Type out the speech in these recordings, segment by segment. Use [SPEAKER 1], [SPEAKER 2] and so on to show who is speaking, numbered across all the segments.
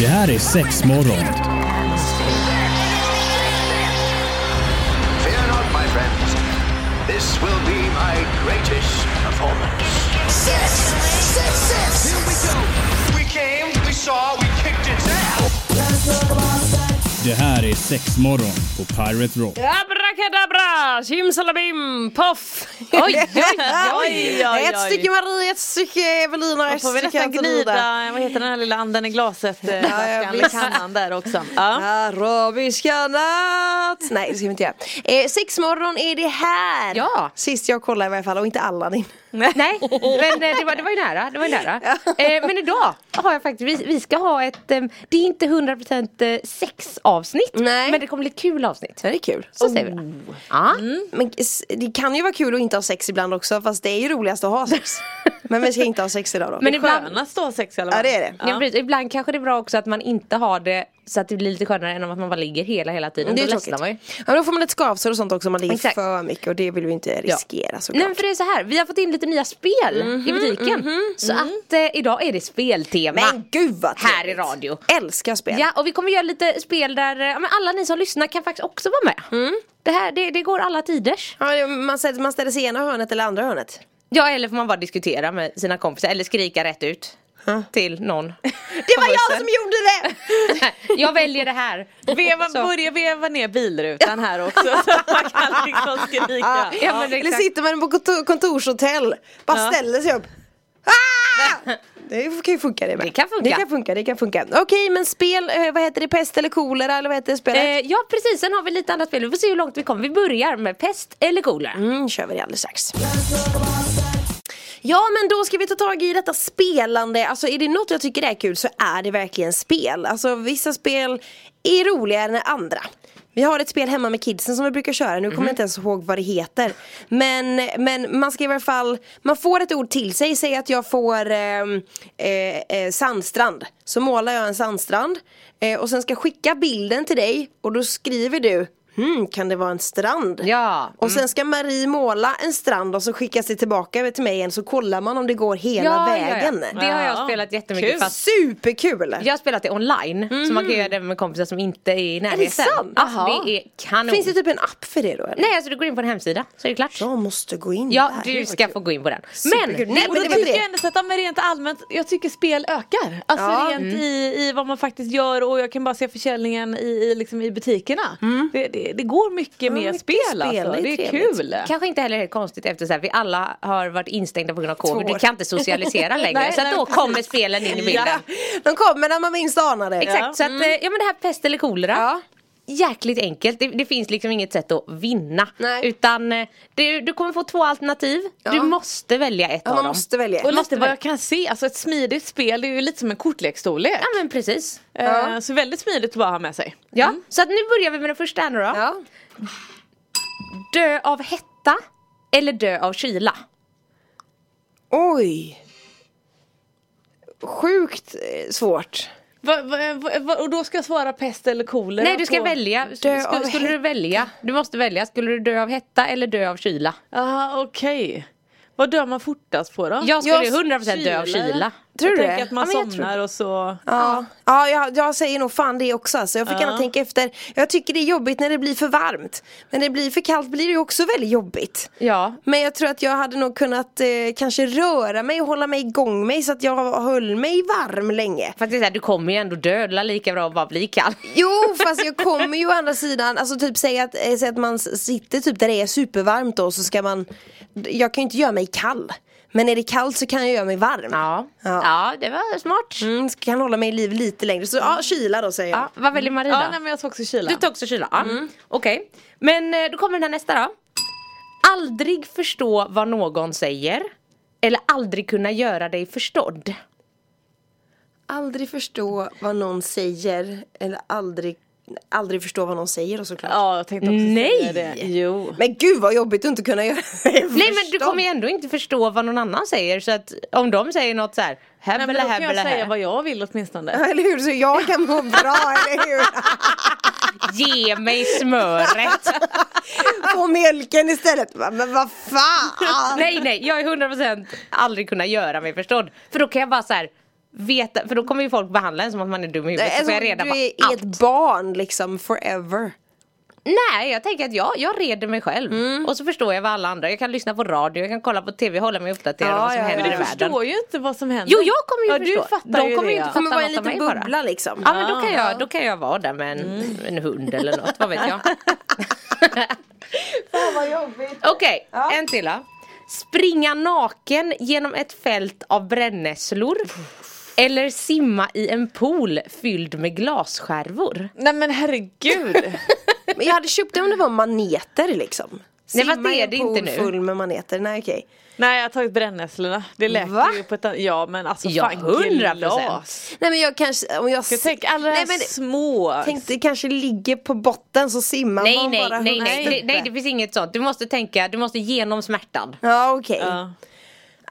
[SPEAKER 1] Det här är sex morgon.
[SPEAKER 2] Fear not, my friends. This will be my greatest performance.
[SPEAKER 3] Six, six, six.
[SPEAKER 2] We came, we saw, we kicked its ass.
[SPEAKER 1] Det här är sex morgon på Pirate Rock.
[SPEAKER 4] Abrakadabra, simsalabim, poff!
[SPEAKER 5] Oj, oj, oj, oj.
[SPEAKER 6] Ett stycke Marie, ett stycke Evelina och
[SPEAKER 5] Då
[SPEAKER 6] ett
[SPEAKER 5] får vi
[SPEAKER 6] stycke
[SPEAKER 5] nästan
[SPEAKER 6] Antonina.
[SPEAKER 5] gnida, vad heter den här lilla anden i glaset? eh,
[SPEAKER 6] jag
[SPEAKER 5] Eller
[SPEAKER 6] visst.
[SPEAKER 5] kannan där också. Ja.
[SPEAKER 6] Arabiska natt! Nej det ska vi inte göra. Eh, sexmorgon är det här!
[SPEAKER 4] Ja.
[SPEAKER 6] Sist jag kollade i varje fall och inte Aladdin.
[SPEAKER 4] Nej, men eh, det var, det var ju nära. Det var ju nära. Eh, men idag har jag faktiskt, vi, vi ska ha ett, eh, det är inte 100% eh, sexavsnitt.
[SPEAKER 6] Nej.
[SPEAKER 4] Men det Mm. kommer bli ett kul avsnitt.
[SPEAKER 6] Det är kul.
[SPEAKER 4] Så säger vi det. Ja.
[SPEAKER 5] Mm.
[SPEAKER 6] Men s- det kan ju vara kul att inte ha sex ibland också fast det är ju roligast att ha sex. Men vi ska inte ha sex idag då.
[SPEAKER 4] Men
[SPEAKER 5] Det
[SPEAKER 4] ibland-
[SPEAKER 5] skönast att ha sex i alla fall.
[SPEAKER 6] Ja det är det.
[SPEAKER 4] Ja. precis. Ibland kanske det är bra också att man inte har det så att det blir lite skönare än om att man bara ligger hela hela tiden.
[SPEAKER 6] Mm, Det är
[SPEAKER 4] Då
[SPEAKER 6] ju
[SPEAKER 4] ledsnar
[SPEAKER 6] tråkigt.
[SPEAKER 4] man ju.
[SPEAKER 6] Ja, men då får man lite skavsår och sånt också om man ligger
[SPEAKER 4] Exakt.
[SPEAKER 6] för mycket och det vill vi inte riskera
[SPEAKER 4] Nej
[SPEAKER 6] såklart.
[SPEAKER 4] men för det är så här, vi har fått in lite nya spel
[SPEAKER 5] Mhm,
[SPEAKER 4] i butiken. så att eh, idag är det speltema.
[SPEAKER 6] Men gud vad
[SPEAKER 4] Här i
[SPEAKER 6] trevligt.
[SPEAKER 4] radio.
[SPEAKER 6] Älskar spel.
[SPEAKER 4] Ja och vi kommer göra lite spel där eh, ja, men alla ni som lyssnar kan faktiskt också vara med. Det, här, det, det går alla tiders.
[SPEAKER 6] Ja, det- man, ställer, man ställer sig i ena hörnet eller andra hörnet.
[SPEAKER 4] Ja eller får man bara diskutera med sina kompisar eller skrika rätt ut. Till någon.
[SPEAKER 6] Det var jag som gjorde det!
[SPEAKER 4] jag väljer det här.
[SPEAKER 5] Veva,
[SPEAKER 4] Så.
[SPEAKER 5] börja veva ner bilrutan här också så att man kan liksom skrika.
[SPEAKER 6] Ja,
[SPEAKER 4] Ja, men det är
[SPEAKER 6] Eller
[SPEAKER 4] exakt.
[SPEAKER 6] sitter man på kontor, kontorshotell, bara ställer sig upp. Ah! Det kan ju funka det med.
[SPEAKER 4] Det kan funka.
[SPEAKER 6] Det kan funka, det kan funka. Okej men spel, eh, vad heter det, pest eller kolera eller vad heter det spelet?
[SPEAKER 4] Eh, ja precis, sen har vi lite andra spel. Vi får se hur långt vi kommer. Vi börjar med pest eller kolera.
[SPEAKER 6] Mm, kör vi det alldeles strax. Ja men då ska vi ta tag i detta spelande, alltså är det något jag tycker är kul så är det verkligen spel. Alltså vissa spel är roligare än andra. Vi har ett spel hemma med kidsen som vi brukar köra, nu kommer jag inte ens ihåg vad det heter. Men, men man ska i varje fall, man får ett ord till sig, säg att jag får ehm, eh, eh, sandstrand. Så målar jag en sandstrand eh, och sen ska jag skicka bilden till dig och då skriver du Hmm, kan det vara en strand?
[SPEAKER 4] Ja.
[SPEAKER 6] Och sen ska Marie måla en strand och så skickas det tillbaka till mig igen så kollar man om det går hela vägen.
[SPEAKER 4] Det har jag
[SPEAKER 5] Ja.
[SPEAKER 4] spelat jättemycket
[SPEAKER 5] Kul.
[SPEAKER 4] fast
[SPEAKER 6] Superkul!
[SPEAKER 4] jag har spelat det online så man kan göra det med kompisar som inte är i närheten.
[SPEAKER 6] Mm. det sant?
[SPEAKER 4] Alltså,
[SPEAKER 6] Jaha.
[SPEAKER 4] det är kanon.
[SPEAKER 6] Finns det typ en app för det då eller?
[SPEAKER 4] Nej alltså du går in på en hemsida så är det klart.
[SPEAKER 6] Jag måste gå in
[SPEAKER 4] Ja
[SPEAKER 6] där.
[SPEAKER 4] du ska få gå in på den. Men,
[SPEAKER 6] Superkul.
[SPEAKER 4] nej,
[SPEAKER 6] Och då
[SPEAKER 4] men det
[SPEAKER 5] Jag
[SPEAKER 4] var
[SPEAKER 6] tycker
[SPEAKER 5] tycker
[SPEAKER 6] jag
[SPEAKER 5] ändå så att ja, men rent allmänt, jag tycker spel ökar. Alltså
[SPEAKER 6] Ja.
[SPEAKER 5] rent i, i vad man faktiskt gör och jag kan bara se försäljningen i, i, liksom, i butikerna. Det, det, det går mycket mer
[SPEAKER 6] mycket
[SPEAKER 5] spel,
[SPEAKER 6] spel, det
[SPEAKER 5] alltså.
[SPEAKER 6] är
[SPEAKER 5] Det är
[SPEAKER 6] trevligt.
[SPEAKER 5] kul.
[SPEAKER 4] Kanske inte heller helt konstigt efter så här, vi alla har varit instängda på grund av covid,
[SPEAKER 6] Två
[SPEAKER 4] du
[SPEAKER 6] år.
[SPEAKER 4] kan inte socialisera längre
[SPEAKER 5] Nej,
[SPEAKER 4] så att
[SPEAKER 5] nej,
[SPEAKER 4] då
[SPEAKER 5] precis.
[SPEAKER 4] kommer spelen in i bilden.
[SPEAKER 5] Ja.
[SPEAKER 6] De kommer när man minst anar det.
[SPEAKER 4] Exakt,
[SPEAKER 5] Ja.
[SPEAKER 4] så att eh, ja men det här pest eller kolera
[SPEAKER 6] Mm. Ja.
[SPEAKER 4] Jäkligt enkelt, det, det finns liksom inget sätt att vinna.
[SPEAKER 6] Nej.
[SPEAKER 4] Utan eh, du, du kommer få två alternativ, du måste välja ett
[SPEAKER 6] Ja,
[SPEAKER 4] av
[SPEAKER 6] man
[SPEAKER 4] dem.
[SPEAKER 6] måste välja.
[SPEAKER 5] Och
[SPEAKER 4] Måste
[SPEAKER 5] lite vad
[SPEAKER 4] väl-
[SPEAKER 5] jag kan se, alltså ett smidigt spel det är ju lite som en kortleksstorlek.
[SPEAKER 4] Ja men precis.
[SPEAKER 5] Eh, Så väldigt smidigt att bara ha med sig.
[SPEAKER 4] Ja, så att nu börjar vi med den första här nu då.
[SPEAKER 6] Ja.
[SPEAKER 4] Dö av hetta eller dö av kyla?
[SPEAKER 6] Oj! Sjukt eh, svårt.
[SPEAKER 5] Va, va, va, va, och då ska jag svara pest eller kolera?
[SPEAKER 4] Nej du ska
[SPEAKER 5] på-
[SPEAKER 4] välja, Sk-
[SPEAKER 6] Dö
[SPEAKER 4] skulle,
[SPEAKER 6] av
[SPEAKER 4] skulle du
[SPEAKER 6] hetta.
[SPEAKER 4] välja? Du måste välja, skulle du dö av hetta eller dö av kyla?
[SPEAKER 5] Jaha okej. Vad dör man fortast på då?
[SPEAKER 4] Jag skulle 100% dö av kyla.
[SPEAKER 6] Tror
[SPEAKER 5] jag
[SPEAKER 6] du
[SPEAKER 5] tänker
[SPEAKER 6] det?
[SPEAKER 5] att man
[SPEAKER 6] Ja, men jag tror
[SPEAKER 5] somnar och så.
[SPEAKER 6] Ja, ja jag, jag säger nog fan det också alltså. Jag får gärna tänka efter. Jag tycker det är jobbigt när det blir för varmt. Men när det blir för kallt blir det ju också väldigt jobbigt.
[SPEAKER 4] Ja.
[SPEAKER 6] Men jag tror att jag hade nog kunnat eh, kanske röra mig och hålla mig igång mig så att jag höll mig varm länge.
[SPEAKER 4] För att det är så här, du kommer ju ändå dö, det är lika bra att bara bli kall.
[SPEAKER 6] Jo fast jag kommer ju å andra sidan, alltså typ säga att, eh, säg att man s- sitter typ där det är supervarmt då så ska man Jag kan ju inte göra mig kall Men är det kallt så kan jag göra mig varm
[SPEAKER 4] Ja, ja.
[SPEAKER 6] Ja.
[SPEAKER 4] det var smart.
[SPEAKER 6] mm, så kan jag hålla mig i liv lite längre, så ja kyla då säger jag
[SPEAKER 4] Ja, vad väljer Marie då?
[SPEAKER 5] Ja nej men jag ska också kyla.
[SPEAKER 4] Du tar också kyla? Ja. Okej, men eh, då kommer den här nästa då. Aldrig förstå vad någon säger eller aldrig kunna göra dig förstådd.
[SPEAKER 6] Aldrig förstå vad någon säger eller aldrig, aldrig förstå vad någon säger och såklart
[SPEAKER 5] Ja jag tänkte också
[SPEAKER 4] Nej!
[SPEAKER 5] säga det. Jo.
[SPEAKER 6] Men gud vad jobbigt att inte kunna göra det
[SPEAKER 4] Nej men du kommer ju ändå inte förstå vad någon annan säger så att om de säger något så här
[SPEAKER 5] Nej,
[SPEAKER 4] Hebbele
[SPEAKER 5] men då kan jag
[SPEAKER 4] hebbele
[SPEAKER 5] säga
[SPEAKER 4] här.
[SPEAKER 5] vad jag vill åtminstone.
[SPEAKER 6] Eller hur, så jag kan må bra, eller hur?
[SPEAKER 4] Ge mig smöret!
[SPEAKER 6] Få mjölken istället. Va- Men vad fan!
[SPEAKER 4] nej nej, jag är 100% aldrig kunna göra mig förstådd. För då kan jag bara så här veta, för då kommer ju folk behandla en som att man är dum i huvudet. så
[SPEAKER 6] Alltså,
[SPEAKER 4] får jag reda
[SPEAKER 6] du
[SPEAKER 4] på
[SPEAKER 6] är
[SPEAKER 4] allt.
[SPEAKER 6] ett barn liksom forever.
[SPEAKER 4] Nej, jag tänker att jag, jag reder mig själv.
[SPEAKER 5] Mm.
[SPEAKER 4] Och så förstår jag vad alla andra, jag kan lyssna på radio, jag kan kolla på tv, hålla mig uppdaterad
[SPEAKER 6] Ja,
[SPEAKER 4] om vad som
[SPEAKER 6] ja, ja.
[SPEAKER 4] händer
[SPEAKER 5] Men
[SPEAKER 4] i
[SPEAKER 5] du
[SPEAKER 4] världen.
[SPEAKER 5] förstår ju inte vad som händer.
[SPEAKER 4] Jo, jag kommer ju
[SPEAKER 5] ja,
[SPEAKER 4] förstå.
[SPEAKER 5] Du fattar
[SPEAKER 4] De
[SPEAKER 5] ju
[SPEAKER 4] kommer ju
[SPEAKER 5] det, ja.
[SPEAKER 4] inte fatta
[SPEAKER 6] kommer vara en
[SPEAKER 4] något av
[SPEAKER 6] liten
[SPEAKER 4] mig bara.
[SPEAKER 6] bubbla liksom.
[SPEAKER 4] Ja men då kan jag, då kan jag vara där med en,
[SPEAKER 6] Mm.
[SPEAKER 4] en hund eller något, vad vet jag.
[SPEAKER 6] Fan vad jobbigt.
[SPEAKER 4] Okej,
[SPEAKER 6] Ja.
[SPEAKER 4] en till då. Springa naken genom ett fält av brännässlor. Eller simma i en pool fylld med glasskärvor.
[SPEAKER 5] Nej men herregud.
[SPEAKER 6] Men jag hade köpt det om det var maneter liksom.
[SPEAKER 4] Nej, fast
[SPEAKER 6] Simma
[SPEAKER 4] det
[SPEAKER 6] i
[SPEAKER 4] är
[SPEAKER 6] en
[SPEAKER 4] det
[SPEAKER 6] pool
[SPEAKER 4] inte nu.
[SPEAKER 6] full med maneter, nej okej.
[SPEAKER 5] Nej jag har tagit brännässlorna. Det
[SPEAKER 6] Va?
[SPEAKER 5] läker ju på ett annat... Ja men alltså
[SPEAKER 4] Ja,
[SPEAKER 5] fan
[SPEAKER 4] 100%.
[SPEAKER 5] glas.
[SPEAKER 6] Nej men jag kanske, om jag...
[SPEAKER 5] Jag tänker alla de
[SPEAKER 6] nej,
[SPEAKER 5] här
[SPEAKER 6] men,
[SPEAKER 5] små.
[SPEAKER 6] Tänk det kanske ligger på botten så simmar
[SPEAKER 4] Nej
[SPEAKER 6] man
[SPEAKER 4] nej
[SPEAKER 6] bara
[SPEAKER 4] nej
[SPEAKER 6] hundra
[SPEAKER 4] nej, nej,
[SPEAKER 6] stup.
[SPEAKER 4] nej det finns inget sånt. Du måste tänka, du måste genom smärtan.
[SPEAKER 6] Ja okej.
[SPEAKER 5] Ja.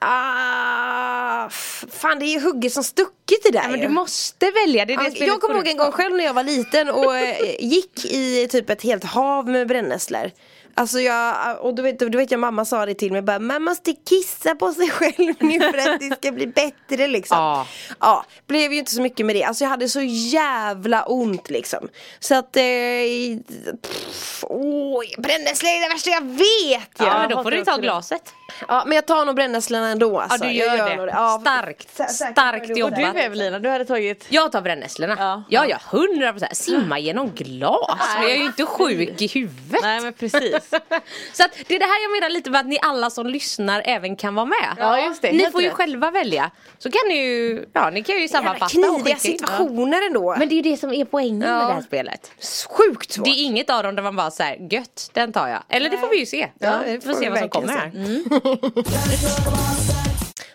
[SPEAKER 6] Ah, f- fan det är ju hugget som stucket det där
[SPEAKER 4] Men
[SPEAKER 6] ju.
[SPEAKER 4] du måste välja, det är det
[SPEAKER 6] Ja,
[SPEAKER 4] spelet
[SPEAKER 6] Alltså, Jag kommer
[SPEAKER 4] går
[SPEAKER 6] ihåg en
[SPEAKER 4] ut på.
[SPEAKER 6] gång själv när jag var liten och eh, gick i typ ett helt hav med brännässlor Alltså jag, och du vet, du vet jag mamma sa det till mig bara Man måste kissa på sig själv nu för att det ska bli bättre liksom
[SPEAKER 4] Ja.
[SPEAKER 6] Ja, blev ju inte så mycket med det Alltså jag hade så jävla ont liksom Så att, eh, pff, åh, brännässlor är det värsta jag vet ju.
[SPEAKER 4] Ja,
[SPEAKER 5] Ja,
[SPEAKER 4] men då
[SPEAKER 5] jag
[SPEAKER 4] får du
[SPEAKER 5] fattar
[SPEAKER 4] ta
[SPEAKER 5] också det.
[SPEAKER 4] glaset.
[SPEAKER 6] Ja men jag tar nog brännässlorna ändå
[SPEAKER 4] Ja
[SPEAKER 6] alltså.
[SPEAKER 4] du gör,
[SPEAKER 6] jag
[SPEAKER 4] det.
[SPEAKER 6] nog Ja,
[SPEAKER 4] Starkt,
[SPEAKER 6] sä- säkert
[SPEAKER 4] starkt
[SPEAKER 6] var det
[SPEAKER 4] jobbat.
[SPEAKER 6] ordet.
[SPEAKER 5] Du Evelina, du hade tagit
[SPEAKER 4] Jag tar brännässlorna. Ja,
[SPEAKER 5] Ja.
[SPEAKER 4] ja, hundra procent. Simma genom glas. Men jag är ju inte sjuk i huvudet.
[SPEAKER 5] Nej men precis.
[SPEAKER 4] Så att det är det här jag menar lite med att ni alla som lyssnar även kan vara med.
[SPEAKER 5] Ja, just det.
[SPEAKER 4] Ni
[SPEAKER 5] Helt
[SPEAKER 4] får ju
[SPEAKER 5] rätt.
[SPEAKER 4] själva välja. Så kan ni ju, ja ni kan ju
[SPEAKER 6] Jävla
[SPEAKER 4] sammanfatta och
[SPEAKER 6] kniviga
[SPEAKER 4] skicka in.
[SPEAKER 6] situationer ändå
[SPEAKER 4] Ja. Men det är ju det som är poängen med
[SPEAKER 6] Ja.
[SPEAKER 4] det här spelet.
[SPEAKER 6] Sjukt svårt!
[SPEAKER 4] Det är inget av dem där man bara säger gött, den tar jag. Eller det får vi ju se.
[SPEAKER 6] Ja, det
[SPEAKER 4] vi får
[SPEAKER 6] får vi
[SPEAKER 4] se vad som
[SPEAKER 6] verkligen
[SPEAKER 4] kommer
[SPEAKER 6] se.
[SPEAKER 4] här.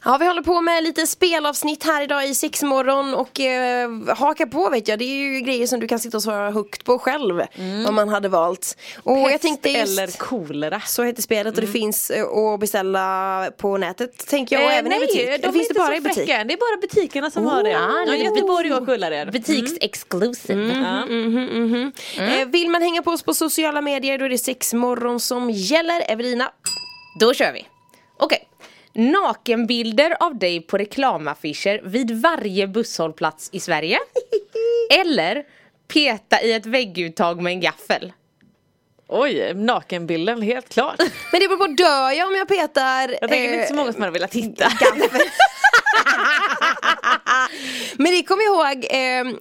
[SPEAKER 6] Ja, vi håller på med lite spelavsnitt här idag i sexmorgon och eh, haka på vet jag, det är ju grejer som du kan sitta och svara högt på själv om man hade valt. Och jag tänkte just,
[SPEAKER 5] Mm. Eller Mm. kolera.
[SPEAKER 6] så heter spelet och det finns eh, att beställa på nätet tänker jag och
[SPEAKER 5] Eh,
[SPEAKER 6] även
[SPEAKER 5] nej,
[SPEAKER 6] i butik.
[SPEAKER 5] de
[SPEAKER 6] Eller
[SPEAKER 5] är
[SPEAKER 6] finns det
[SPEAKER 5] inte
[SPEAKER 6] bara
[SPEAKER 5] så
[SPEAKER 6] i butik? Oh,
[SPEAKER 5] fräcka än. Det är bara butikerna som har det.
[SPEAKER 4] ah,
[SPEAKER 5] Ja,
[SPEAKER 4] det är
[SPEAKER 5] Göteborg och Kullareda.
[SPEAKER 6] Mm.
[SPEAKER 4] Butiksexclusive.
[SPEAKER 6] Mhm,
[SPEAKER 5] Mm.
[SPEAKER 6] Eh, vill man hänga på oss på sociala medier då är det sexmorgon som gäller. Evelina,
[SPEAKER 4] Då kör vi. Okej. Nakenbilder av dig på reklamaffischer vid varje busshållplats i Sverige. Eller peta i ett vägguttag med en gaffel.
[SPEAKER 5] Oj, nakenbilden helt klart.
[SPEAKER 6] men det beror på, dör jag om jag petar?
[SPEAKER 5] Jag tänker det är inte
[SPEAKER 6] eh,
[SPEAKER 5] så många som hade velat titta.
[SPEAKER 6] Men det kommer jag ihåg,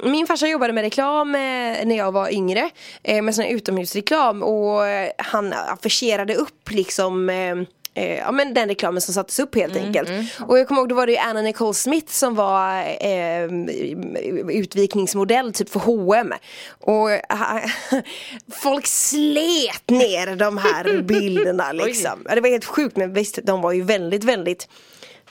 [SPEAKER 6] eh, min farsa jobbade med reklam eh, när jag var yngre eh, Med sån här utomhusreklam och eh, han affischerade upp liksom eh, eh, Ja men den reklamen som sattes upp helt
[SPEAKER 4] Mm,
[SPEAKER 6] enkelt Och jag kommer ihåg då var det ju Anna Nicole Smith som var eh, utvikningsmodell typ för H&M Och eh, folk slet ner de här bilderna liksom Ja, Det var helt sjukt men visst de var ju väldigt väldigt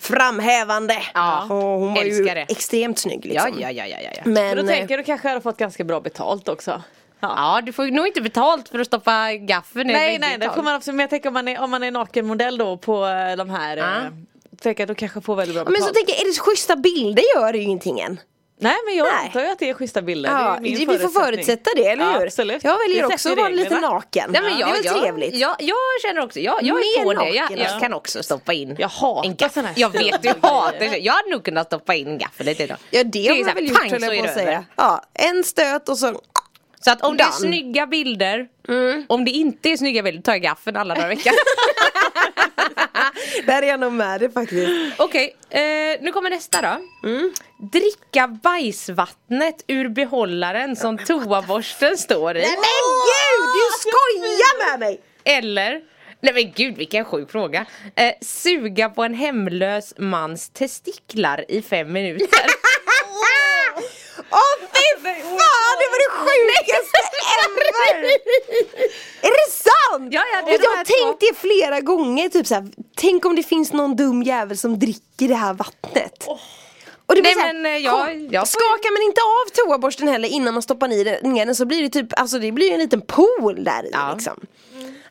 [SPEAKER 6] framhävande
[SPEAKER 4] Ja,
[SPEAKER 6] och hon var ju
[SPEAKER 4] älskar det.
[SPEAKER 6] extremt snygg
[SPEAKER 4] Ja,
[SPEAKER 6] liksom.
[SPEAKER 4] ja, ja, ja, ja. ja.
[SPEAKER 5] Men
[SPEAKER 6] Men,
[SPEAKER 5] då
[SPEAKER 6] eh,
[SPEAKER 5] tänker jag, då kanske jag hade fått ganska bra betalt också.
[SPEAKER 4] Ja, du får ju nog inte betalt för att stoppa gaffeln i ett
[SPEAKER 5] Nej, nej,
[SPEAKER 4] vägguttag.
[SPEAKER 5] det får man absolut. Men jag tänker om man är, om man är nakenmodell då på eh, de här.
[SPEAKER 4] Ah.
[SPEAKER 5] Ah. Tänker jag då kanske jag får väldigt bra
[SPEAKER 6] men
[SPEAKER 5] betalt.
[SPEAKER 6] så tänker jag, är det schyssta bilder gör det ju ingenting än.
[SPEAKER 5] nej, men jag
[SPEAKER 6] Nej.
[SPEAKER 5] antar ju att det är schyssta bilder. det
[SPEAKER 6] Ja,
[SPEAKER 5] är min
[SPEAKER 6] vi får
[SPEAKER 5] förutsättning.
[SPEAKER 6] förutsätta det, eller
[SPEAKER 5] Ja,
[SPEAKER 6] hur?
[SPEAKER 5] absolut.
[SPEAKER 6] Jag väljer
[SPEAKER 5] Vi
[SPEAKER 6] också att
[SPEAKER 5] sätter
[SPEAKER 6] vara lite
[SPEAKER 5] reglerna.
[SPEAKER 6] naken.
[SPEAKER 4] Nej, men jag,
[SPEAKER 6] det är väl
[SPEAKER 4] jag,
[SPEAKER 6] trevligt?
[SPEAKER 4] Jag, jag känner också, jag, jag
[SPEAKER 6] Mer
[SPEAKER 4] är på det. Jag,
[SPEAKER 6] naken,
[SPEAKER 4] jag
[SPEAKER 6] alltså.
[SPEAKER 4] kan också stoppa in
[SPEAKER 5] Jag hatar
[SPEAKER 4] en gaffel.
[SPEAKER 5] såna här
[SPEAKER 4] Jag vet, du
[SPEAKER 5] stora
[SPEAKER 4] hatar
[SPEAKER 5] grejer.
[SPEAKER 4] det. Jag hade nog kunnat stoppa in en gaffel lite idag.
[SPEAKER 6] Ja det har
[SPEAKER 4] är så
[SPEAKER 6] man
[SPEAKER 4] här,
[SPEAKER 6] väl
[SPEAKER 4] pang,
[SPEAKER 6] gjort höll jag
[SPEAKER 4] så är
[SPEAKER 6] på
[SPEAKER 4] det
[SPEAKER 6] att
[SPEAKER 4] över.
[SPEAKER 6] säga. Ja, en stöt och så
[SPEAKER 4] Så att om det är
[SPEAKER 6] Done.
[SPEAKER 4] snygga bilder, om det inte är snygga bilder, tar jag gaffeln alla dagar i veckan.
[SPEAKER 6] Där är jag nog med det faktiskt.
[SPEAKER 4] Okej, eh, nu kommer nästa då. Dricka bajsvattnet ur behållaren som toaborsten står i.
[SPEAKER 6] Nej men gud, du skojar med mig!
[SPEAKER 4] Eller, nej men gud vilken sjuk fråga. Eh, suga på en hemlös mans testiklar i fem minuter.
[SPEAKER 6] Åh fy fan, det var det sjukaste ever! Är det sant?
[SPEAKER 4] Ja, ja, det är
[SPEAKER 6] Vet
[SPEAKER 4] de
[SPEAKER 6] du, jag
[SPEAKER 4] här
[SPEAKER 6] har
[SPEAKER 4] två.
[SPEAKER 6] tänkt det flera gånger, typ såhär, tänk om det finns någon dum jävel som dricker det här vattnet. Och det blir
[SPEAKER 4] Nej,
[SPEAKER 6] såhär,
[SPEAKER 4] men, eh, jag-
[SPEAKER 6] kom,
[SPEAKER 4] jag får-
[SPEAKER 6] skakar man inte av toaborsten heller innan man stoppar ner den- ner den så blir det typ, alltså det blir ju en liten pool där i
[SPEAKER 4] Ja. Mm.
[SPEAKER 6] liksom.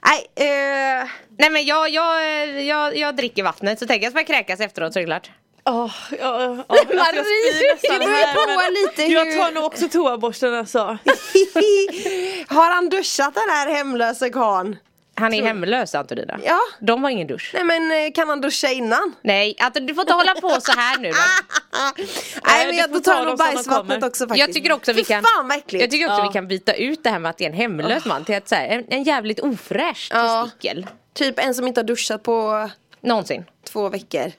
[SPEAKER 6] Nej, eh,
[SPEAKER 4] nej men jag, jag, eh, jag, jag dricker vattnet så tänker jag att man kräkas efteråt så är det klart.
[SPEAKER 5] Åh, ja, ja, ja. Alltså, jag
[SPEAKER 4] Marie,
[SPEAKER 5] spyr nästan
[SPEAKER 6] det beror
[SPEAKER 5] här,
[SPEAKER 6] på
[SPEAKER 5] men
[SPEAKER 6] lite hur-
[SPEAKER 5] Jag tar nog också toaborsten alltså.
[SPEAKER 6] har han duschat den här hemlöse karln?
[SPEAKER 4] Han är hemlös Antonina.
[SPEAKER 6] Ja.
[SPEAKER 4] De har ingen dusch.
[SPEAKER 6] Nej men eh, kan han duscha innan?
[SPEAKER 4] Nej, alltså, du får inte hålla på så här nu. va? Eh,
[SPEAKER 6] Nej men
[SPEAKER 5] du
[SPEAKER 6] jag
[SPEAKER 5] får
[SPEAKER 6] får
[SPEAKER 5] ta
[SPEAKER 6] ta
[SPEAKER 5] dem
[SPEAKER 6] nog
[SPEAKER 5] som de
[SPEAKER 6] bajsvattnet
[SPEAKER 5] kommer.
[SPEAKER 6] också faktiskt.
[SPEAKER 4] Jag tycker också
[SPEAKER 6] Fy
[SPEAKER 4] vi kan,
[SPEAKER 6] fan vad äckligt. Ah.
[SPEAKER 4] jag tycker också
[SPEAKER 5] Ja.
[SPEAKER 4] vi kan byta ut det här med att det är en hemlös man till att så här, en, en jävligt ofräsch
[SPEAKER 6] Ja.
[SPEAKER 4] testikel.
[SPEAKER 6] Typ en som inte har duschat på
[SPEAKER 4] Någonsin.
[SPEAKER 6] två veckor.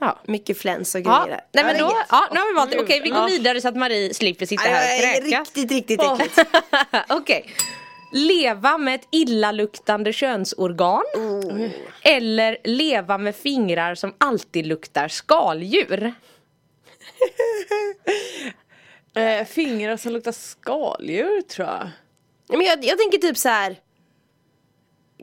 [SPEAKER 4] Ja.
[SPEAKER 6] Mycket fläns och
[SPEAKER 4] Ja,
[SPEAKER 6] grejer. där.
[SPEAKER 4] nej men
[SPEAKER 6] det är Mm.
[SPEAKER 4] då,
[SPEAKER 6] inget.
[SPEAKER 4] ja, nu har vi valt det. Okej, vi går
[SPEAKER 5] Ja.
[SPEAKER 4] vidare så att Marie slipper sitta
[SPEAKER 6] Ja,
[SPEAKER 4] här och
[SPEAKER 6] ja,
[SPEAKER 4] kräkas.
[SPEAKER 6] Riktigt, riktigt äckligt.
[SPEAKER 4] Okej. Leva med ett illaluktande könsorgan. Eller leva med fingrar som alltid luktar skaldjur.
[SPEAKER 5] Eh, fingrar som luktar skaldjur tror jag.
[SPEAKER 6] Men jag, jag tänker typ så här.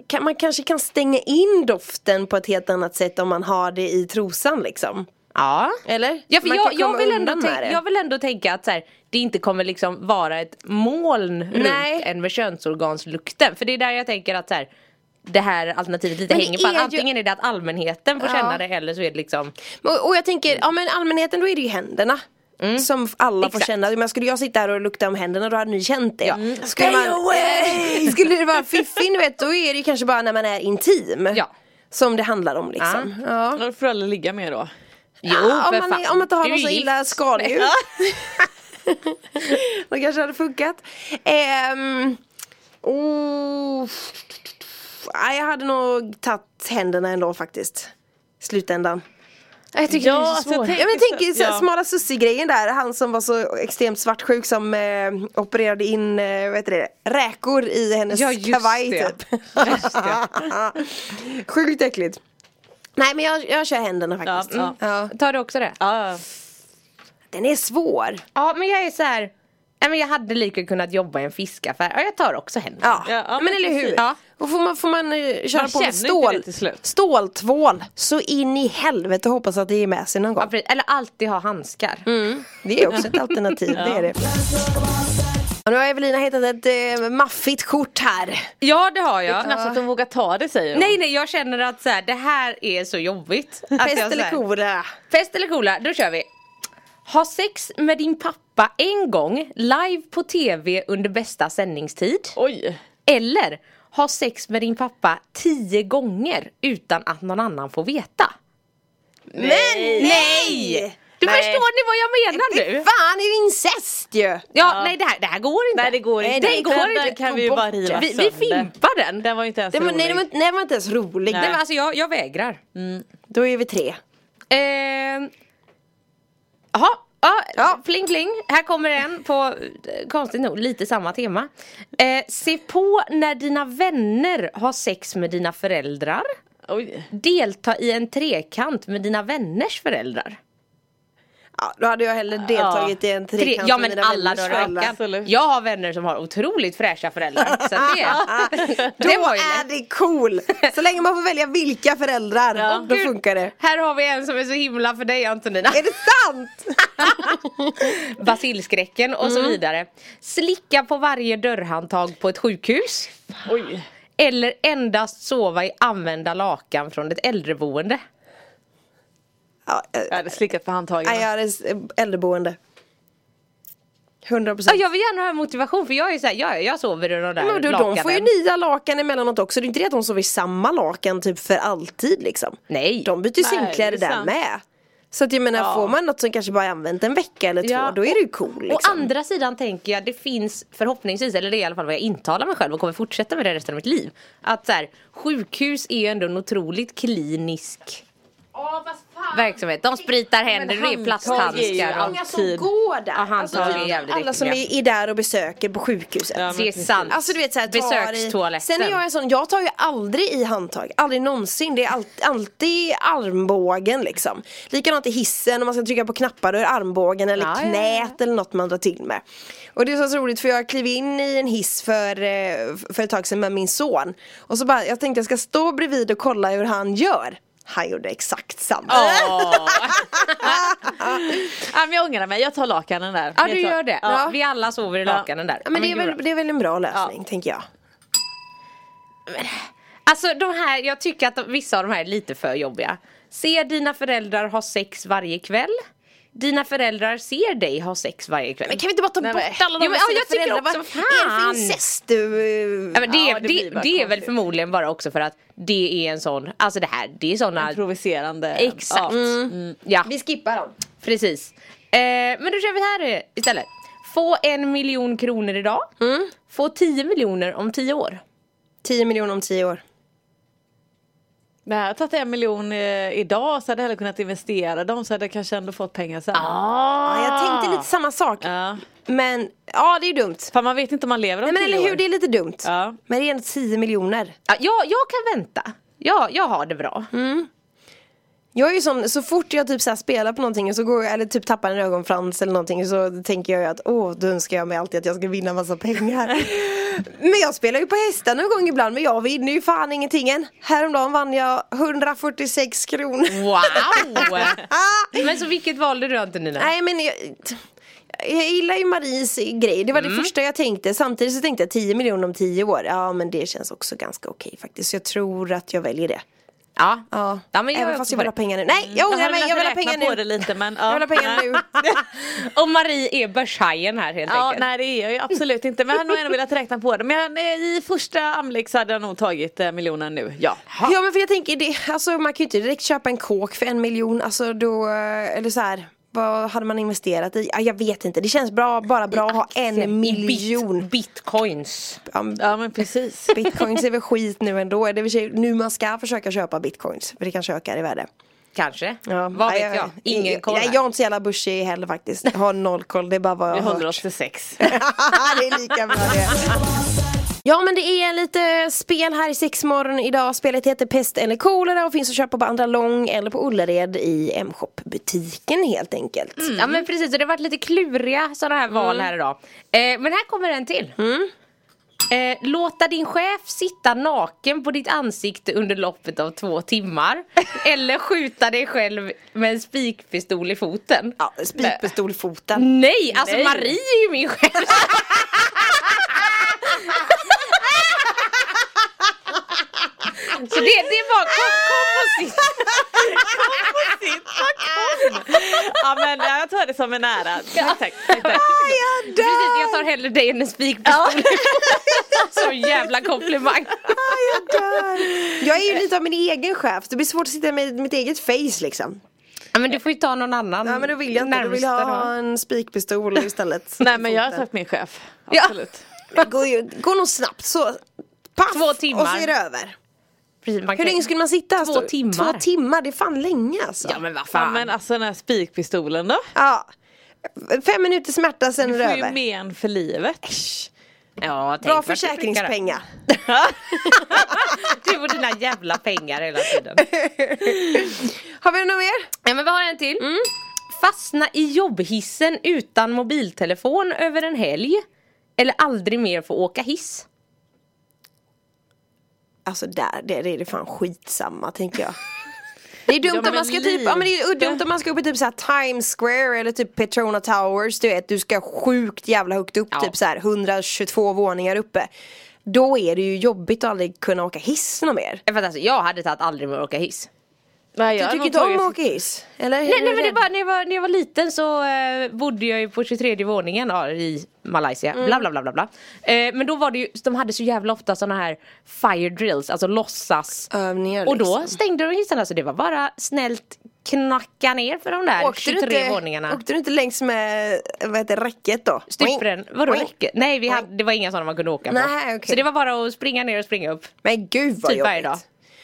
[SPEAKER 6] Kan, man kanske kan stänga in doften på ett helt annat sätt om man har det i trosan liksom.
[SPEAKER 4] Ja.
[SPEAKER 6] Eller?
[SPEAKER 4] Ja, för
[SPEAKER 6] Man
[SPEAKER 4] jag,
[SPEAKER 6] kan
[SPEAKER 4] jag,
[SPEAKER 6] komma
[SPEAKER 4] vill
[SPEAKER 6] undan
[SPEAKER 4] ändå
[SPEAKER 6] med
[SPEAKER 4] tänka,
[SPEAKER 6] det.
[SPEAKER 4] jag vill ändå tänka att så här, det inte kommer liksom vara ett moln
[SPEAKER 6] Nej.
[SPEAKER 4] runt en med könsorganslukten. För det är där jag tänker att så här, det här alternativet lite
[SPEAKER 6] Men det
[SPEAKER 4] hänger på.
[SPEAKER 6] är ju-
[SPEAKER 4] att Antingen är det att allmänheten får
[SPEAKER 6] Ja.
[SPEAKER 4] känna det eller så är det liksom
[SPEAKER 6] Och, och jag tänker, ja men allmänheten då är det ju händerna. Som alla får
[SPEAKER 4] Exakt.
[SPEAKER 6] känna. Men skulle jag sitta här och lukta om händerna då hade ni känt det. Mm. Skulle,
[SPEAKER 4] Stay
[SPEAKER 6] away! skulle det vara fiffin du vet då är det ju kanske bara när man är intim.
[SPEAKER 4] Ja.
[SPEAKER 6] Som det handlar om liksom. Ja.
[SPEAKER 5] Då får alla ligga med då.
[SPEAKER 4] Jo
[SPEAKER 6] Ah,
[SPEAKER 4] för
[SPEAKER 6] om, man,
[SPEAKER 4] fan.
[SPEAKER 6] är- om man inte har
[SPEAKER 4] Du är
[SPEAKER 6] någon så
[SPEAKER 4] gift.
[SPEAKER 6] illa skaldjur. Då kanske det hade funkat. Ehm, oh, nej, jag hade nog tagit händerna ändå faktiskt. Slutändan. Jag tycker
[SPEAKER 5] Ja, det är så alltså, jag svårt. tänker
[SPEAKER 6] Ja, men jag
[SPEAKER 5] så-
[SPEAKER 6] tänker så,
[SPEAKER 5] ja.
[SPEAKER 6] smala Sussie-grejen där. Han som var så extremt svartsjuk som eh, opererade in eh, vad heter det, räkor i hennes
[SPEAKER 5] Ja, just
[SPEAKER 6] kavaj
[SPEAKER 5] det.
[SPEAKER 6] typ. Sjukt äckligt. Nej men jag, jag kör händerna faktiskt. Mm.
[SPEAKER 5] Ja, ja.
[SPEAKER 6] Ja.
[SPEAKER 4] Mm. Tar du också det?
[SPEAKER 5] Ja.
[SPEAKER 6] Den är svår.
[SPEAKER 4] Ja men jag är så här. Nej, men jag hade lika gärna kunnat jobba i en fiskaffär. Ja, jag tar också händerna.
[SPEAKER 6] Ja,
[SPEAKER 5] Ja, ja,
[SPEAKER 6] men,
[SPEAKER 5] men
[SPEAKER 6] eller
[SPEAKER 5] precis.
[SPEAKER 6] hur.
[SPEAKER 4] Ja.
[SPEAKER 6] Och får man, får man eh, köra
[SPEAKER 5] Man
[SPEAKER 6] på
[SPEAKER 5] känner inte
[SPEAKER 6] med
[SPEAKER 5] det
[SPEAKER 6] stål,
[SPEAKER 5] till slut.
[SPEAKER 6] ståltvål så in i helvete hoppas att det är med sig någon
[SPEAKER 4] Ja,
[SPEAKER 6] gång.
[SPEAKER 4] precis. Eller alltid ha handskar.
[SPEAKER 5] Mm.
[SPEAKER 6] Det är också ett alternativ, det är det. Och nu har Evelina hittat ett eh, maffigt kort här.
[SPEAKER 4] Ja det har
[SPEAKER 5] Det är
[SPEAKER 4] jag.
[SPEAKER 6] Alltså,
[SPEAKER 5] knappt att de vågar ta det säger de.
[SPEAKER 4] Nej nej jag känner att så här, det här är så jobbigt. Att jag
[SPEAKER 6] Pest
[SPEAKER 4] så
[SPEAKER 6] eller
[SPEAKER 4] här-
[SPEAKER 6] kolera?
[SPEAKER 4] Fest eller kola, då kör vi. Ha sex med din pappa en gång live på tv under bästa sändningstid.
[SPEAKER 5] Oj.
[SPEAKER 4] Eller ha sex med din pappa tio gånger utan att någon annan får veta.
[SPEAKER 6] Men
[SPEAKER 4] Nej! Du
[SPEAKER 6] Nej.
[SPEAKER 4] förstår ni vad jag menar nu?
[SPEAKER 6] Fan, det är ju incest ju!
[SPEAKER 4] Ja, nej det här, det här går inte.
[SPEAKER 5] Nej, det går inte.
[SPEAKER 4] Det
[SPEAKER 5] Den-
[SPEAKER 4] går
[SPEAKER 5] den
[SPEAKER 4] inte.
[SPEAKER 5] kan
[SPEAKER 4] Gå
[SPEAKER 5] vi ju
[SPEAKER 4] bort
[SPEAKER 5] bara
[SPEAKER 4] det.
[SPEAKER 5] riva
[SPEAKER 4] vi, vi
[SPEAKER 5] sönder.
[SPEAKER 4] fimpar den.
[SPEAKER 5] Den var ju inte ens
[SPEAKER 6] Det var,
[SPEAKER 5] rolig.
[SPEAKER 6] nej, det var, inte- nej, det var inte ens rolig.
[SPEAKER 4] Nej, men alltså jag, jag vägrar.
[SPEAKER 6] Då är vi tre.
[SPEAKER 4] Ehm. Jaha, ja,
[SPEAKER 6] Ja.
[SPEAKER 4] pling pling. Här kommer en på, eh, konstigt nog, lite samma tema. Eh, se på när dina vänner har sex med dina föräldrar.
[SPEAKER 5] Oj.
[SPEAKER 4] Delta i en trekant med dina vänners föräldrar.
[SPEAKER 6] Ja, då hade jag hellre deltagit i en
[SPEAKER 4] Tre,
[SPEAKER 6] trekant
[SPEAKER 4] ja
[SPEAKER 6] med
[SPEAKER 4] men
[SPEAKER 6] mina
[SPEAKER 4] alla
[SPEAKER 6] vänners
[SPEAKER 4] dagar i
[SPEAKER 6] föräldrar.
[SPEAKER 4] veckan.
[SPEAKER 5] absolut.
[SPEAKER 4] Jag har vänner som har otroligt fräscha föräldrar. Så att det,
[SPEAKER 6] Då
[SPEAKER 4] det var ju
[SPEAKER 6] är
[SPEAKER 4] lätt.
[SPEAKER 6] det cool! Så länge man får välja vilka föräldrar,
[SPEAKER 5] Ja.
[SPEAKER 6] då funkar det.
[SPEAKER 4] Här har vi en som är så himla för dig Antonina.
[SPEAKER 6] Är det sant?
[SPEAKER 4] Basilskräcken och så vidare. Slicka på varje dörrhandtag på ett sjukhus.
[SPEAKER 5] Oj.
[SPEAKER 4] Eller endast sova i använda lakan från ett äldreboende.
[SPEAKER 6] Ja, eh,
[SPEAKER 5] Jag hade slickat på handtagen.
[SPEAKER 6] nej, jag är s- äldreboende. 100
[SPEAKER 4] Ja,
[SPEAKER 6] procent.
[SPEAKER 4] jag vill gärna ha motivation för jag är såhär, ja, jag sover i de där
[SPEAKER 6] Men då, de får ju
[SPEAKER 4] lakanen.
[SPEAKER 6] nya lakan emellanåt också. Det är inte det att de sover i samma lakan typ för alltid liksom.
[SPEAKER 4] Nej.
[SPEAKER 6] De byter ju
[SPEAKER 5] Nej,
[SPEAKER 6] sängkläder
[SPEAKER 5] det är
[SPEAKER 6] där
[SPEAKER 5] sant.
[SPEAKER 6] med. Så att jag menar,
[SPEAKER 5] Ja.
[SPEAKER 6] får man något som kanske bara är använt en vecka eller två,
[SPEAKER 4] Ja,
[SPEAKER 6] då är det ju cool
[SPEAKER 4] Å
[SPEAKER 6] liksom.
[SPEAKER 4] andra sidan tänker jag, det finns förhoppningsvis, eller det är i alla fall vad jag intalar mig själv och kommer fortsätta med det resten av mitt liv. Att så här, sjukhus är ju ändå en otroligt klinisk verksamhet. De spritar händer, det är
[SPEAKER 5] handtag är ju
[SPEAKER 4] plasthandskar. och-
[SPEAKER 5] allt- alltid.
[SPEAKER 6] går där.
[SPEAKER 4] handtag är
[SPEAKER 6] typ
[SPEAKER 4] jävligt
[SPEAKER 6] alla som
[SPEAKER 4] äckliga.
[SPEAKER 6] är, är där och besöker på sjukhuset.
[SPEAKER 5] Ja, men
[SPEAKER 4] Det är
[SPEAKER 5] precis.
[SPEAKER 4] sant.
[SPEAKER 6] Alltså du vet såhär,
[SPEAKER 4] Besökstoaletten.
[SPEAKER 6] Sen är jag en sån, jag tar ju aldrig i handtag, aldrig någonsin. Det är allt- alltid armbågen liksom. Likadant i hissen, om man ska trycka på knappar då är det armbågen eller
[SPEAKER 4] Ja, ja, ja.
[SPEAKER 6] knät eller något man drar till med. Och det är så roligt för jag klev in i en hiss för, eh, för ett tag sedan med min son. Och så bara, jag tänkte jag ska stå bredvid och kolla hur han gör. Han gjorde exakt samma.
[SPEAKER 5] Åh. ja, men jag ångrar mig, jag tar lakanen där.
[SPEAKER 4] Ja
[SPEAKER 5] Jag
[SPEAKER 4] du
[SPEAKER 5] tar-
[SPEAKER 4] gör det.
[SPEAKER 5] Ja.
[SPEAKER 4] Vi alla sover i
[SPEAKER 5] Ja.
[SPEAKER 4] lakanen där.
[SPEAKER 6] Ja, men det, är
[SPEAKER 4] gud, bra.
[SPEAKER 6] väl, det är väl en bra lösning tänker jag.
[SPEAKER 4] Alltså de här, jag tycker att de, vissa av de här är lite för jobbiga. Se dina föräldrar ha sex varje kväll. Dina föräldrar ser dig ha sex varje kväll.
[SPEAKER 6] Men kan vi inte bara ta
[SPEAKER 5] Nej,
[SPEAKER 6] bort
[SPEAKER 5] men-
[SPEAKER 6] alla de
[SPEAKER 4] Jo, men-
[SPEAKER 6] med
[SPEAKER 4] ja,
[SPEAKER 6] sina
[SPEAKER 4] jag tycker
[SPEAKER 6] föräldrar?
[SPEAKER 4] också,
[SPEAKER 6] Vad
[SPEAKER 4] fan.
[SPEAKER 6] är det för incest du... eh,
[SPEAKER 4] Ja, men det,
[SPEAKER 5] Ja, det
[SPEAKER 4] det,
[SPEAKER 5] blir
[SPEAKER 4] det,
[SPEAKER 5] bara
[SPEAKER 4] är väl
[SPEAKER 5] konstigt.
[SPEAKER 4] förmodligen bara också för att det är en sån, alltså det här, det är såna
[SPEAKER 5] Provocerande.
[SPEAKER 4] Exakt.
[SPEAKER 5] Ja.
[SPEAKER 4] Ja,
[SPEAKER 6] Vi skippar dem.
[SPEAKER 4] precis. Eh, men då kör vi här eh, istället. Få en miljon kronor idag. Få 10 miljoner om 10 år.
[SPEAKER 6] 10 miljoner om 10 år.
[SPEAKER 5] Men hade jag tagit en miljon eh, idag så hade jag hellre kunnat investera dem så hade jag kanske ändå fått pengar sen.
[SPEAKER 6] Ja, jag tänkte lite samma sak.
[SPEAKER 5] Ja.
[SPEAKER 6] Men ja, det är ju dumt.
[SPEAKER 5] Fan man vet inte om man lever om
[SPEAKER 6] Nej, men
[SPEAKER 5] tio
[SPEAKER 6] eller hur,
[SPEAKER 5] år.
[SPEAKER 6] det är lite dumt.
[SPEAKER 5] Ja.
[SPEAKER 6] Men det är ändå 10 miljoner.
[SPEAKER 4] Ja, jag, jag kan vänta. Ja, jag har det bra.
[SPEAKER 6] Jag är ju som, så fort jag typ så här spelar på någonting så går jag, eller typ tappar en ögonfrans eller någonting så tänker jag ju att åh, då önskar jag mig alltid att jag ska vinna massa pengar. men jag spelar ju på hästar någon gång ibland men jag vinner ju fan ingenting än. Häromdagen vann jag 146 kronor. Ah!
[SPEAKER 4] Wow! men så vilket valde du Antonina?
[SPEAKER 6] Nej men jag, jag gillar ju Maries grej, det var det första jag tänkte. Samtidigt så tänkte jag 10 miljoner om 10 år, ja men det känns också ganska okej faktiskt. Så jag tror att jag väljer det.
[SPEAKER 4] Ja.
[SPEAKER 6] Ja,
[SPEAKER 4] men jag
[SPEAKER 6] även
[SPEAKER 4] är
[SPEAKER 6] fast
[SPEAKER 4] också
[SPEAKER 6] jag
[SPEAKER 4] på
[SPEAKER 6] vill ha pengarna
[SPEAKER 4] det.
[SPEAKER 6] nu. Nej, jag ångrar mig, jag vill ha pengar
[SPEAKER 5] på det
[SPEAKER 6] nu.
[SPEAKER 5] lite men ja.
[SPEAKER 6] Jag vill ha pengar nu.
[SPEAKER 4] Och Marie är börshajen här helt
[SPEAKER 5] Ja,
[SPEAKER 4] enkelt.
[SPEAKER 5] nej det är jag ju absolut inte men jag hade nog ändå velat räkna på det men eh, i första anblick så hade jag nog tagit eh, miljonen nu ja.
[SPEAKER 6] Ja men för jag tänker, det, alltså, man kan ju inte direkt köpa en kåk för en miljon, alltså då, eller så här. Vad hade man investerat i? Ja, jag vet inte, det känns bra, bara bra att ha en miljon
[SPEAKER 4] Bit, bitcoins.
[SPEAKER 6] Ja, men
[SPEAKER 5] Ja men precis.
[SPEAKER 6] Bitcoins är väl skit nu ändå, det är väl i och för sig nu man ska försöka köpa bitcoins för det kanske ökar i värde
[SPEAKER 4] Kanske.
[SPEAKER 6] Ja.
[SPEAKER 4] Vad
[SPEAKER 6] Nej,
[SPEAKER 4] vet jag? Ingen
[SPEAKER 6] jag-
[SPEAKER 4] koll
[SPEAKER 6] Nej,
[SPEAKER 4] här.
[SPEAKER 6] jag är inte så jävla börsig heller faktiskt. Jag har noll koll, det är bara vad jag
[SPEAKER 5] Vi
[SPEAKER 6] har
[SPEAKER 5] håller oss
[SPEAKER 6] hört.
[SPEAKER 5] till sex.
[SPEAKER 6] det är lika bra det. Ja men det är lite spel här i sexmorgon idag. Spelet heter Pest eller kolera och finns att köpa på Andra Lång eller på Ullared i M-shop butiken helt enkelt.
[SPEAKER 4] Ja men precis, och det har varit lite kluriga sådana här val här idag. Eh, men här kommer en till.
[SPEAKER 6] Mm.
[SPEAKER 4] Eh, låta din chef sitta naken på ditt ansikte under loppet av två timmar. eller skjuta dig själv med en spikpistol i foten.
[SPEAKER 6] Ja, spikpistol i foten.
[SPEAKER 4] Nej, alltså
[SPEAKER 5] Nej.
[SPEAKER 4] Marie är ju min chef. Så det, det är bara kom, kom och sitt.
[SPEAKER 5] Ja men eh, jag tar det som är nära. Tack tack. tack, tack.
[SPEAKER 6] Ah, Jag dör!
[SPEAKER 4] Precis, jag tar hellre dig än en spikpistol. Så jävla komplimang.
[SPEAKER 6] Jag dör! Jag är ju lite av min egen chef, det blir svårt att sitta med mitt eget face liksom.
[SPEAKER 4] Ja, men du får ju ta någon annan.
[SPEAKER 6] Ja men då vill jag inte, då vill jag
[SPEAKER 4] närmsta
[SPEAKER 6] ha en spikpistol istället.
[SPEAKER 5] Nej men jag har tagit min chef.
[SPEAKER 4] Ja.
[SPEAKER 5] Absolut.
[SPEAKER 6] Det går, ju, det går nog snabbt så paff,
[SPEAKER 4] Två timmar.
[SPEAKER 6] och så är det över.
[SPEAKER 4] Precis, man
[SPEAKER 6] Hur
[SPEAKER 4] kan-
[SPEAKER 6] länge skulle man sitta?
[SPEAKER 4] Två
[SPEAKER 6] Astrid?
[SPEAKER 4] timmar.
[SPEAKER 6] Två timmar, det är fan länge alltså.
[SPEAKER 4] Ja men vad
[SPEAKER 5] Ja,
[SPEAKER 4] fan.
[SPEAKER 5] men alltså den här spikpistolen då?
[SPEAKER 6] Ja. Fem minuter smärta sen är
[SPEAKER 5] Du
[SPEAKER 6] det
[SPEAKER 5] får ju
[SPEAKER 6] över.
[SPEAKER 5] men för livet.
[SPEAKER 4] ja, tänk
[SPEAKER 6] Bra
[SPEAKER 4] vart du prickar.
[SPEAKER 6] försäkringspengar.
[SPEAKER 4] Du och dina jävla pengar hela tiden.
[SPEAKER 6] Har vi något mer?
[SPEAKER 4] Ja men vi har en till. Fastna i jobbhissen utan mobiltelefon över en helg. Eller aldrig mer få åka hiss.
[SPEAKER 6] Alltså där, det, det är det fan skitsamma tänker jag. Det är dumt
[SPEAKER 5] men
[SPEAKER 6] om man ska typ,
[SPEAKER 5] lite.
[SPEAKER 6] ja, men det är dumt om man ska upp i typ så här Times Square eller typ Petrona Towers, du vet, du ska sjukt jävla högt upp,
[SPEAKER 4] Ja.
[SPEAKER 6] typ så här 122 våningar uppe. Då är det ju jobbigt att aldrig kunna åka hiss något mer.
[SPEAKER 4] Ja, För att alltså, jag hade tagit aldrig mer åka hiss.
[SPEAKER 5] Nej,
[SPEAKER 6] Du
[SPEAKER 5] jag
[SPEAKER 6] tycker inte om att åka hiss? Eller?
[SPEAKER 4] Nej, nej men det var, när, jag var, när jag var liten så eh, bodde jag ju på 23 våningen ja, i Malaysia. Bla bla bla bla bla. Eh, men då var det ju, de hade så jävla ofta såna här fire drills, alltså låtsas.
[SPEAKER 6] Övningar
[SPEAKER 4] och då
[SPEAKER 6] liksom.
[SPEAKER 4] stängde de hissen, alltså det var bara snällt knacka ner för de där 23 våningarna.
[SPEAKER 6] åkte du inte längs med, vad heter det, räcket då?
[SPEAKER 4] Stupren, vadå
[SPEAKER 6] Oink.
[SPEAKER 4] räcket? Nej vi hade, det var inga sådana man kunde åka på.
[SPEAKER 6] Nej, okej.
[SPEAKER 4] Så det var bara att springa ner och springa upp.
[SPEAKER 6] Men gud vad
[SPEAKER 4] typ varje dag.
[SPEAKER 6] jobbigt.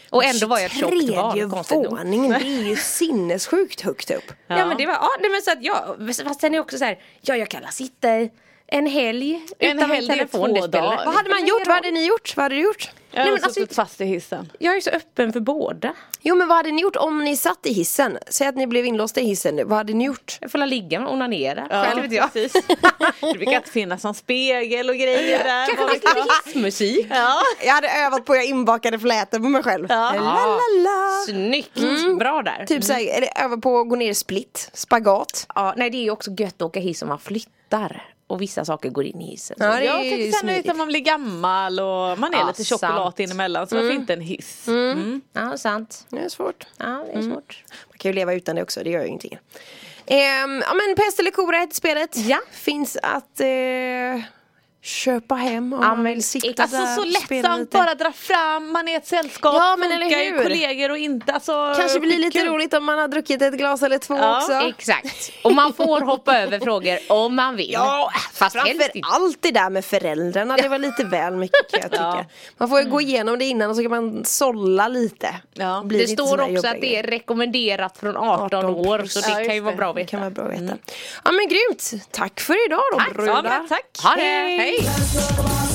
[SPEAKER 4] Och ändå var jag ett tjockt
[SPEAKER 6] Tredje
[SPEAKER 4] barn konstigt nog.
[SPEAKER 6] våningen, det är ju sinnessjukt högt upp.
[SPEAKER 4] Ja. men det var, ja nej, men så att jag, fast sen är jag också så här, ja jag kan sitta i en helg
[SPEAKER 5] En
[SPEAKER 4] utan
[SPEAKER 5] helg,
[SPEAKER 4] min
[SPEAKER 5] det är
[SPEAKER 4] telefon.
[SPEAKER 5] två
[SPEAKER 4] Det spelar-
[SPEAKER 5] dagar.
[SPEAKER 6] Vad hade man gjort? Vad hade ni gjort? Vad hade du gjort?
[SPEAKER 5] Jag
[SPEAKER 4] Nej,
[SPEAKER 5] har
[SPEAKER 4] men alltså-
[SPEAKER 5] suttit fast i hissen.
[SPEAKER 4] Jag är ju så öppen för båda.
[SPEAKER 6] Jo men vad hade ni gjort om ni satt i hissen? Säg att ni blev inlåsta i hissen nu, vad hade ni gjort?
[SPEAKER 4] Jag får la ligga med onanera.
[SPEAKER 5] Ja,
[SPEAKER 4] Själv vet jag.
[SPEAKER 5] precis. Det brukar inte finnas någon spegel och grejer där.
[SPEAKER 4] Kanske
[SPEAKER 5] Vad vet jag?
[SPEAKER 4] lite hissmusik.
[SPEAKER 5] Ja.
[SPEAKER 6] Jag hade övat på att jag inbakade flätor på mig själv.
[SPEAKER 5] Ja.
[SPEAKER 6] La, la, la.
[SPEAKER 4] Snyggt, bra där.
[SPEAKER 6] Typ såhär, eller öva på att gå ner i split, spagat.
[SPEAKER 4] Ja, nej det är ju också gött att åka hiss om man flyttar. Och vissa saker går in i hissen.
[SPEAKER 6] Ja, det
[SPEAKER 5] Jag
[SPEAKER 6] är ju
[SPEAKER 5] tänkte sen
[SPEAKER 6] smidigt.
[SPEAKER 5] när man blir gammal och man är
[SPEAKER 4] Ja,
[SPEAKER 5] lite choklad
[SPEAKER 4] sant. Mm.
[SPEAKER 5] inemellan så varför inte en hiss?
[SPEAKER 4] Ja, sant.
[SPEAKER 6] Det är svårt.
[SPEAKER 4] Ja, det är svårt.
[SPEAKER 6] Man kan ju leva utan det också, det gör ju ingenting. Eh, Ehm, ja men pest eller kora heter spelet.
[SPEAKER 4] Ja.
[SPEAKER 6] Finns att eh, köpa hem om
[SPEAKER 4] Ja,
[SPEAKER 6] man
[SPEAKER 4] men
[SPEAKER 6] vill sitta
[SPEAKER 5] Alltså
[SPEAKER 6] där
[SPEAKER 5] så
[SPEAKER 6] och spela
[SPEAKER 5] lättsamt
[SPEAKER 6] lite.
[SPEAKER 5] bara dra fram, man är ett sällskap,
[SPEAKER 6] Ja, men
[SPEAKER 5] funkar
[SPEAKER 6] eller
[SPEAKER 5] ju
[SPEAKER 6] hur?
[SPEAKER 5] kollegor och inte alltså,
[SPEAKER 6] Kanske blir lite
[SPEAKER 5] skitkul.
[SPEAKER 6] roligt om man har druckit ett glas eller två
[SPEAKER 5] Ja,
[SPEAKER 6] också.
[SPEAKER 4] Exakt. Och man får hoppa över frågor om man vill.
[SPEAKER 6] Ja,
[SPEAKER 4] Fast helst
[SPEAKER 6] framför
[SPEAKER 4] inte.
[SPEAKER 6] allt det där med föräldrarna, det var lite väl mycket kan jag tycka. Man får ju gå igenom det innan och så kan man sålla lite.
[SPEAKER 5] Ja.
[SPEAKER 6] Blir
[SPEAKER 4] Mm. Det
[SPEAKER 6] inte
[SPEAKER 4] står
[SPEAKER 6] sådana
[SPEAKER 4] också att
[SPEAKER 6] jobbiga
[SPEAKER 4] det är rekommenderat från 18,
[SPEAKER 6] 18
[SPEAKER 4] år
[SPEAKER 6] plus.
[SPEAKER 4] så det
[SPEAKER 5] Ja,
[SPEAKER 4] kan ju
[SPEAKER 5] just
[SPEAKER 4] vara
[SPEAKER 5] det.
[SPEAKER 4] bra att
[SPEAKER 6] Det kan
[SPEAKER 4] veta.
[SPEAKER 6] vara bra att veta. Ja men grymt! Tack för idag då
[SPEAKER 4] Mm. Tack,
[SPEAKER 6] brudar.
[SPEAKER 4] Sandra, tack.
[SPEAKER 5] Ha det, hej!
[SPEAKER 4] Hej.